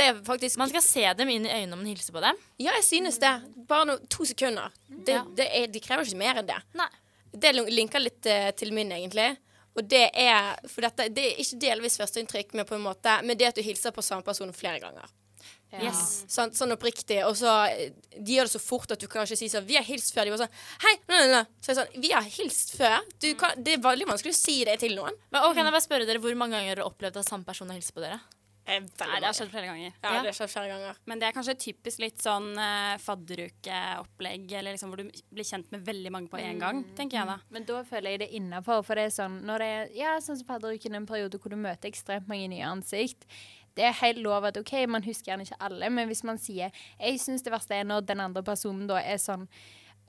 Speaker 8: det.
Speaker 5: enig.
Speaker 8: Man skal se dem inn i øynene om man hilser på dem.
Speaker 5: Ja, jeg synes det. Bare no, to sekunder. Det, det er, de krever ikke mer enn det. Det lin- linker litt eh, til min, egentlig. Og det er For dette det er ikke delvis førsteinntrykk, men på en måte Men det at du hilser på samme person flere ganger.
Speaker 8: Ja. Yes.
Speaker 5: Sånn, sånn oppriktig. Og så eh, De gjør det så fort at du kan ikke si sånn 'Vi har hilst før.' De var sånn 'Hei, nei, nei, nei.' Så jeg er sånn 'Vi har hilst før.' Du kan, det er veldig vanskelig å si det til noen.
Speaker 8: Men og, Kan jeg bare spørre dere Hvor mange ganger har dere opplevd at samme person har hilst på dere?
Speaker 13: Nei, det har skjedd flere ganger.
Speaker 8: Ja, det
Speaker 5: har skjedd flere ganger.
Speaker 13: Men det er kanskje typisk litt sånn eh, fadderukeopplegg, eller liksom hvor du blir kjent med veldig mange på en
Speaker 8: Mm.
Speaker 13: gang, tenker jeg da.
Speaker 10: Men da føler jeg det innafor. For det er sånn når det er ja, sånn som fadderuken, en periode hvor du møter ekstremt mange nye ansikt. Det er helt lov at OK, man husker gjerne ikke alle, men hvis man sier Jeg syns det verste er når den andre personen da er sånn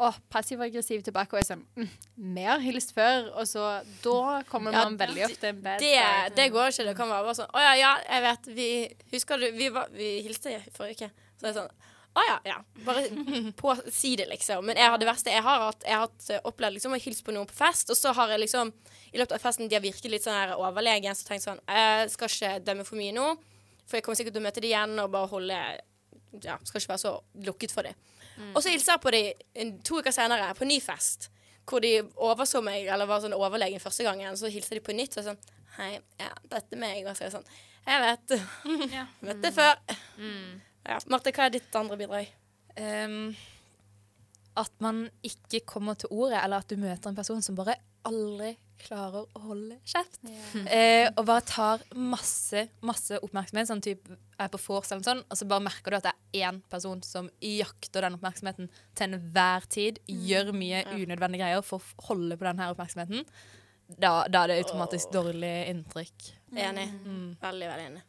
Speaker 10: å, passiv-aggressiv tilbake og er sånn mm, Vi har hilst før. Og så Da kommer
Speaker 5: Ja,
Speaker 10: man veldig ofte en bad
Speaker 5: Det,
Speaker 10: side.
Speaker 5: det går ikke. Det kan være bare sånn 'Å ja, ja, jeg vet. Vi husker du Vi, var, vi hilste i forrige uke.' Så det er sånn 'Å ja, ja.' Bare på, si det, liksom. Men jeg har det verste jeg har hatt. Jeg har hatt, eh, opplevd liksom å hilse på noen på fest, og så har jeg liksom I løpet av festen de har virket litt sånn her overlegen, så tenkt sånn 'Jeg skal ikke dømme for mye nå, for jeg kommer sikkert til å møte dem igjen og bare holde Ja, skal ikke være så lukket for dem.' Og så hilser jeg på dem to uker senere, på ny fest. Hvor de overså meg, eller var sånn overlegen første gangen. Så hilser de på nytt. Og sånn Hei, ja, dette er meg. Og så er jeg sånn Jeg vet. Møtt det før. Ja. Marte, hva er ditt andre bidrag?
Speaker 11: Ehm, at man ikke kommer til ordet, eller at du møter en person som bare aldri klarer å holde kjeft. Eh, og bare tar masse masse oppmerksomhet. Sånn typ, jeg er på vors eller noe sånt, og så bare merker du at det er én person som jakter den oppmerksomheten til enhver tid. Gjør mye unødvendige greier for å holde på den her oppmerksomheten. Da, da er det automatisk dårlig inntrykk.
Speaker 5: Enig. Veldig, veldig enig.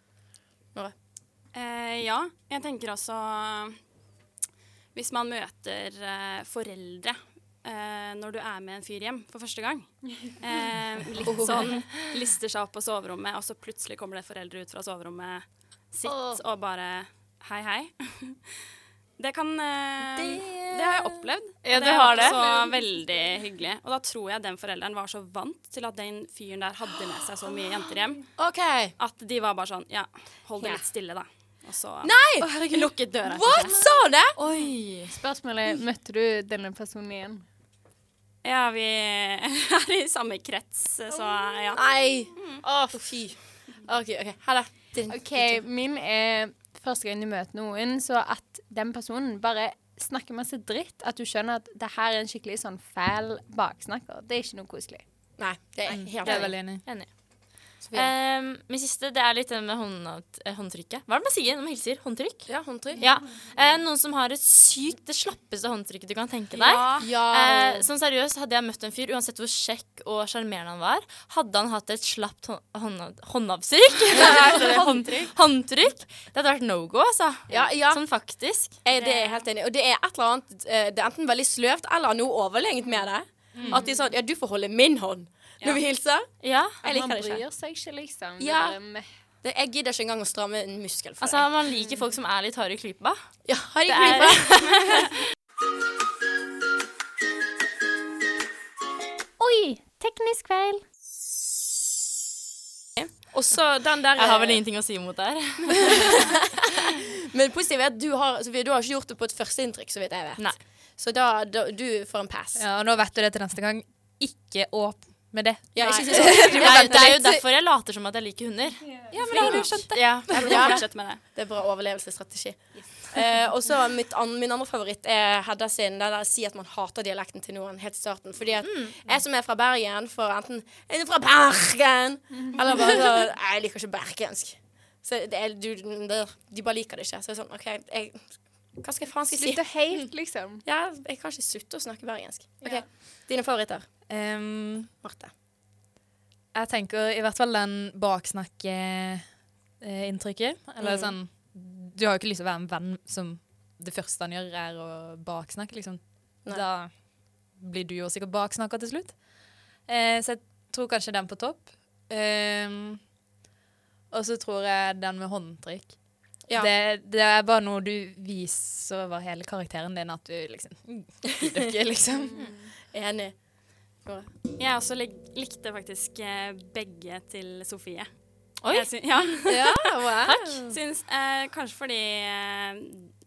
Speaker 5: Nora?
Speaker 13: Eh, ja, jeg tenker også Hvis man møter eh, foreldre eh, når du er med en fyr hjem for første gang eh,
Speaker 10: Oh.
Speaker 13: Litt sånn lister seg opp på soverommet, og så plutselig kommer det foreldre ut fra soverommet sitt og bare Hei, hei. Det kan eh, Det har jeg opplevd.
Speaker 8: Ja,
Speaker 13: og
Speaker 8: du har
Speaker 13: var
Speaker 8: det.
Speaker 13: Så veldig hyggelig. Og da tror jeg den forelderen var så vant til at den fyren der hadde med seg så mye jenter hjem, at de var bare sånn Ja, hold det
Speaker 10: Ja.
Speaker 13: litt stille, da. Og så
Speaker 10: Nei!
Speaker 13: Å, herregud. lukket døra.
Speaker 10: What?
Speaker 13: kanskje.
Speaker 5: Sa det?
Speaker 8: Oi.
Speaker 10: Spørsmålet møtte du denne personen igjen?
Speaker 13: Ja, vi er i samme krets, eh, så ja.
Speaker 5: Nei! Å, fy. OK, ok. Ha det.
Speaker 10: OK, min er første gang du møter noen, så at den personen bare snakker masse dritt. At du skjønner at det her er en skikkelig sånn fæl baksnakker. Det er ikke noe koselig.
Speaker 5: Nei, det er
Speaker 10: helt Jeg er enig. veldig enig.
Speaker 8: Eh, min siste det er litt det med hånd, eh, håndtrykket. Hva er det man sier når man hilser? Håndtrykk?
Speaker 5: Ja, håndtrykk.
Speaker 8: Ja. Eh, noen som har et sykt det slappeste håndtrykket du kan tenke deg.
Speaker 5: Ja. Ja.
Speaker 8: Eh, sånn seriøst, Hadde jeg møtt en fyr, uansett hvor kjekk og sjarmerende han var, hadde han hatt et slapt hånd, hånd, håndavtrykk Håndtrykk. Håndtrykk. Det hadde vært no go, altså. Sånn faktisk.
Speaker 5: Jeg, det er jeg helt enig i. Og det er et eller annet eh, Det er enten veldig sløvt eller noe overlegent med det.
Speaker 8: Mm.
Speaker 5: At de er sånn Ja, du får holde min hånd når vi hilser.
Speaker 8: Ja.
Speaker 5: Jeg liker det
Speaker 10: Man
Speaker 5: ikke.
Speaker 10: bryr seg ikke, liksom.
Speaker 5: Ja.
Speaker 10: Det er meh.
Speaker 5: Det, jeg gidder ikke engang å stramme en muskel for
Speaker 8: Altså, Man liker folk som er litt harde i klypa.
Speaker 5: Ja, harde i
Speaker 14: Oi! Teknisk feil.
Speaker 5: deg. Og så den der eh,
Speaker 8: Jeg har vel ingenting å si imot det her.
Speaker 5: Men det positive er at du har, Sofie, du har ikke gjort det på et førsteinntrykk, så vidt jeg vet. Så da, da du får en pass.
Speaker 11: Ja, og nå vet du det til neste gang. Ikke åp med det.
Speaker 5: Ja, ikke
Speaker 11: Nei.
Speaker 5: si sånn.
Speaker 11: Du
Speaker 8: Det er,
Speaker 11: venter
Speaker 8: det er jo
Speaker 11: litt.
Speaker 8: derfor jeg later som at jeg liker hunder.
Speaker 11: Ja, men da har du skjønt det.
Speaker 8: Ja,
Speaker 5: Ja,
Speaker 8: jeg burde
Speaker 5: bra.
Speaker 8: fortsette med det.
Speaker 5: Det er bra overlevelsesstrategi. Eh, og så mitt an, Min andre favoritt er Hedda sin. Det der å si at man hater dialekten til noen helt i starten. Fordi at jeg som er fra Bergen, får enten 'Er du fra Bergen?' eller bare sånn 'Jeg liker ikke bergensk'. Så det er, du, det, de bare liker det ikke. Så det er sånn OK, jeg, hva skal jeg faen skal jeg si?
Speaker 10: Slutte helt, liksom.
Speaker 5: Ja, jeg kan ikke slutte å snakke bergensk. OK, dine favoritter?
Speaker 11: Ehm,
Speaker 5: Marte.
Speaker 11: Jeg tenker i hvert fall den baksnakkeinntrykket. Eller
Speaker 5: Mm.
Speaker 11: sånn Du har jo ikke lyst til å være en venn som det første han gjør, er å baksnakke, liksom.
Speaker 5: Nei.
Speaker 11: Da blir du jo sikkert baksnakka til slutt. Eh, så jeg tror kanskje den på topp. Ehm, og så tror jeg den med håndtrykk.
Speaker 5: Ja.
Speaker 11: Det, det er bare noe du viser over hele karakteren din, at du liksom mm, gidder ikke, liksom.
Speaker 5: Enig. Nora.
Speaker 13: Jeg også lik- likte faktisk eh, begge til Sofie.
Speaker 8: Oi. Mm.
Speaker 13: Jeg syn- ja.
Speaker 8: Ja, wow.
Speaker 13: Takk. Syns, eh, kanskje fordi eh,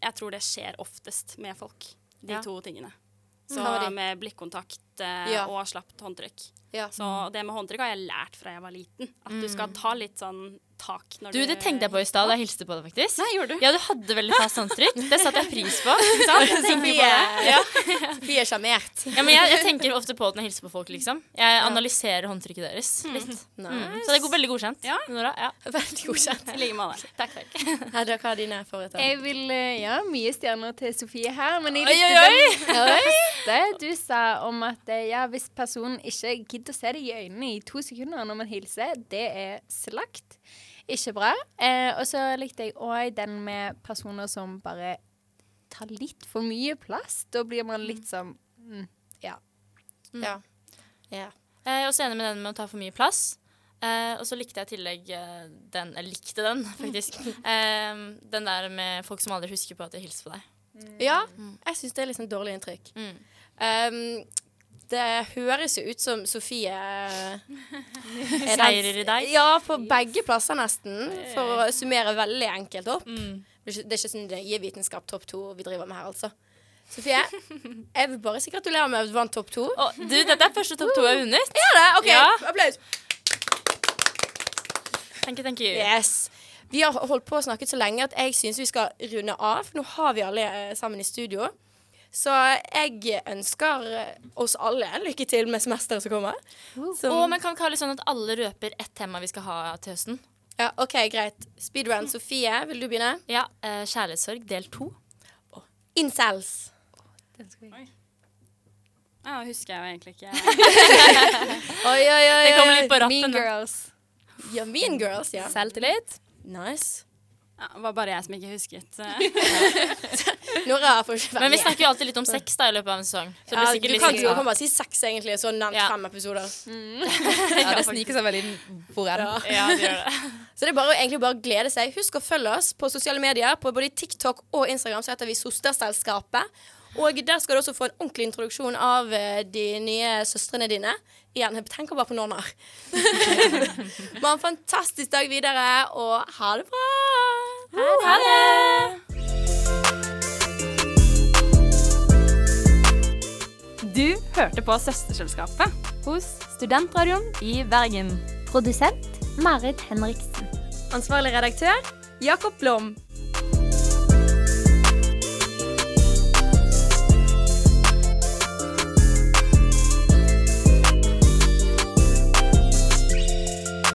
Speaker 13: jeg tror det skjer oftest med folk, de
Speaker 8: Ja.
Speaker 13: to tingene.
Speaker 8: Mm.
Speaker 13: Så
Speaker 8: Hva var de?
Speaker 13: med blikkontakt eh,
Speaker 8: Ja.
Speaker 13: og slapt håndtrykk.
Speaker 5: Ja.
Speaker 13: Så det med håndtrykk har jeg lært fra jeg var liten. At du skal ta litt sånn tak når
Speaker 8: Mm. Du, Det tenkte jeg på i stad da jeg hilste på deg, faktisk. Nei, gjorde du? Ja, du hadde veldig fast håndtrykk. Det satte jeg pris på. Ikke sant? Jeg tenker på det. Ja.
Speaker 5: Vi er sjarmert.
Speaker 8: Ja, men jeg, jeg tenker ofte på det når jeg hilser på folk. liksom Jeg analyserer håndtrykket deres litt. Mm. Så det er go- veldig godkjent. Nora, ja.
Speaker 5: Veldig godkjent.
Speaker 8: I like måte. Takk, takk.
Speaker 5: Hedda, hva er dine favoritter?
Speaker 10: Jeg vil eh, Ja, mye stjerner til Sofie her, men jeg
Speaker 5: Oi,
Speaker 10: likte
Speaker 5: oi,
Speaker 10: den
Speaker 5: oi!
Speaker 10: første du sa om at eh, ja, hvis personen ikke gidder å se deg i øynene i to sekunder når man hilser, det er slakt. Ikke bra. Eh, og så likte jeg òg den med personer som bare tar litt for mye plass. Da blir man litt sånn mm, Ja.
Speaker 5: Ja. ja.
Speaker 8: Jeg er også enig med den med å ta for mye plass. Eh, og så likte jeg i tillegg eh, den Jeg likte den, faktisk. Eh, den der med folk som aldri husker på at jeg hilser på deg.
Speaker 5: Ja, jeg syns det er litt sånn dårlig inntrykk. Um, det høres jo ut som Sofie er den-
Speaker 8: Seirer i dag.
Speaker 5: Ja, på begge plasser nesten, for å summere veldig enkelt opp. Det er ikke- det er ikke sånn det gir vitenskap topp to vi driver med her, altså. Sofie, jeg vil bare si gratulerer med at du vant topp to.
Speaker 8: du, dette er første topp to jeg har vunnet.
Speaker 5: Ja, det er, ok,
Speaker 8: Ja.
Speaker 5: Applaus.
Speaker 8: Thank you, thank you.
Speaker 5: Yes. Vi har holdt på og snakket så lenge at jeg syns vi skal runde av. for Nå har vi alle eh, sammen i studio. Så jeg ønsker eh, oss alle lykke til med semesteret som kommer. Som-
Speaker 8: Og man kan ikke ha litt sånn at alle røper ett tema vi skal ha til høsten.
Speaker 5: Ja, OK, greit. Speedrun. Sofie, vil du begynne?
Speaker 8: Ja, eh, Kjærlighetssorg del to.
Speaker 5: Incels.
Speaker 13: Ja, husker jeg jo egentlig ikke.
Speaker 5: Oi, oi, oi.
Speaker 13: Det kommer litt på
Speaker 5: oi.
Speaker 13: rappen. da.
Speaker 5: Ja, Mean Girls, ja.
Speaker 11: Selvtillit.
Speaker 5: Nice.
Speaker 13: Ja, det var bare jeg som ikke husket. eh.
Speaker 5: Nora får ikke være
Speaker 8: Men vi
Speaker 5: med.
Speaker 8: snakker jo alltid litt om sex da i løpet av en sesong. Så det
Speaker 5: Ja,
Speaker 8: blir
Speaker 5: du
Speaker 8: sikkert
Speaker 5: kan
Speaker 8: litt sånn-
Speaker 5: jo bare si seks, egentlig, og så nevnt fem episoder.
Speaker 11: Ja, det sniker seg veldig inn. Hvor er den?
Speaker 8: Ja, det gjør det.
Speaker 5: Så det er bare, egentlig bare å glede seg. Husk å følge oss på sosiale medier. På både TikTok og Instagram så heter vi Sosterselskapet. Og der skal du også få en ordentlig introduksjon av eh, de nye søstrene dine. Igjen, jeg tenker bare på nonner. Ha en fantastisk dag videre, og ha det bra! Ha det!
Speaker 13: Du hørte på Søsterselskapet hos Studentradioen i Bergen.
Speaker 14: Produsent Marit Henriksen.
Speaker 15: Ansvarlig redaktør Jakob Blom.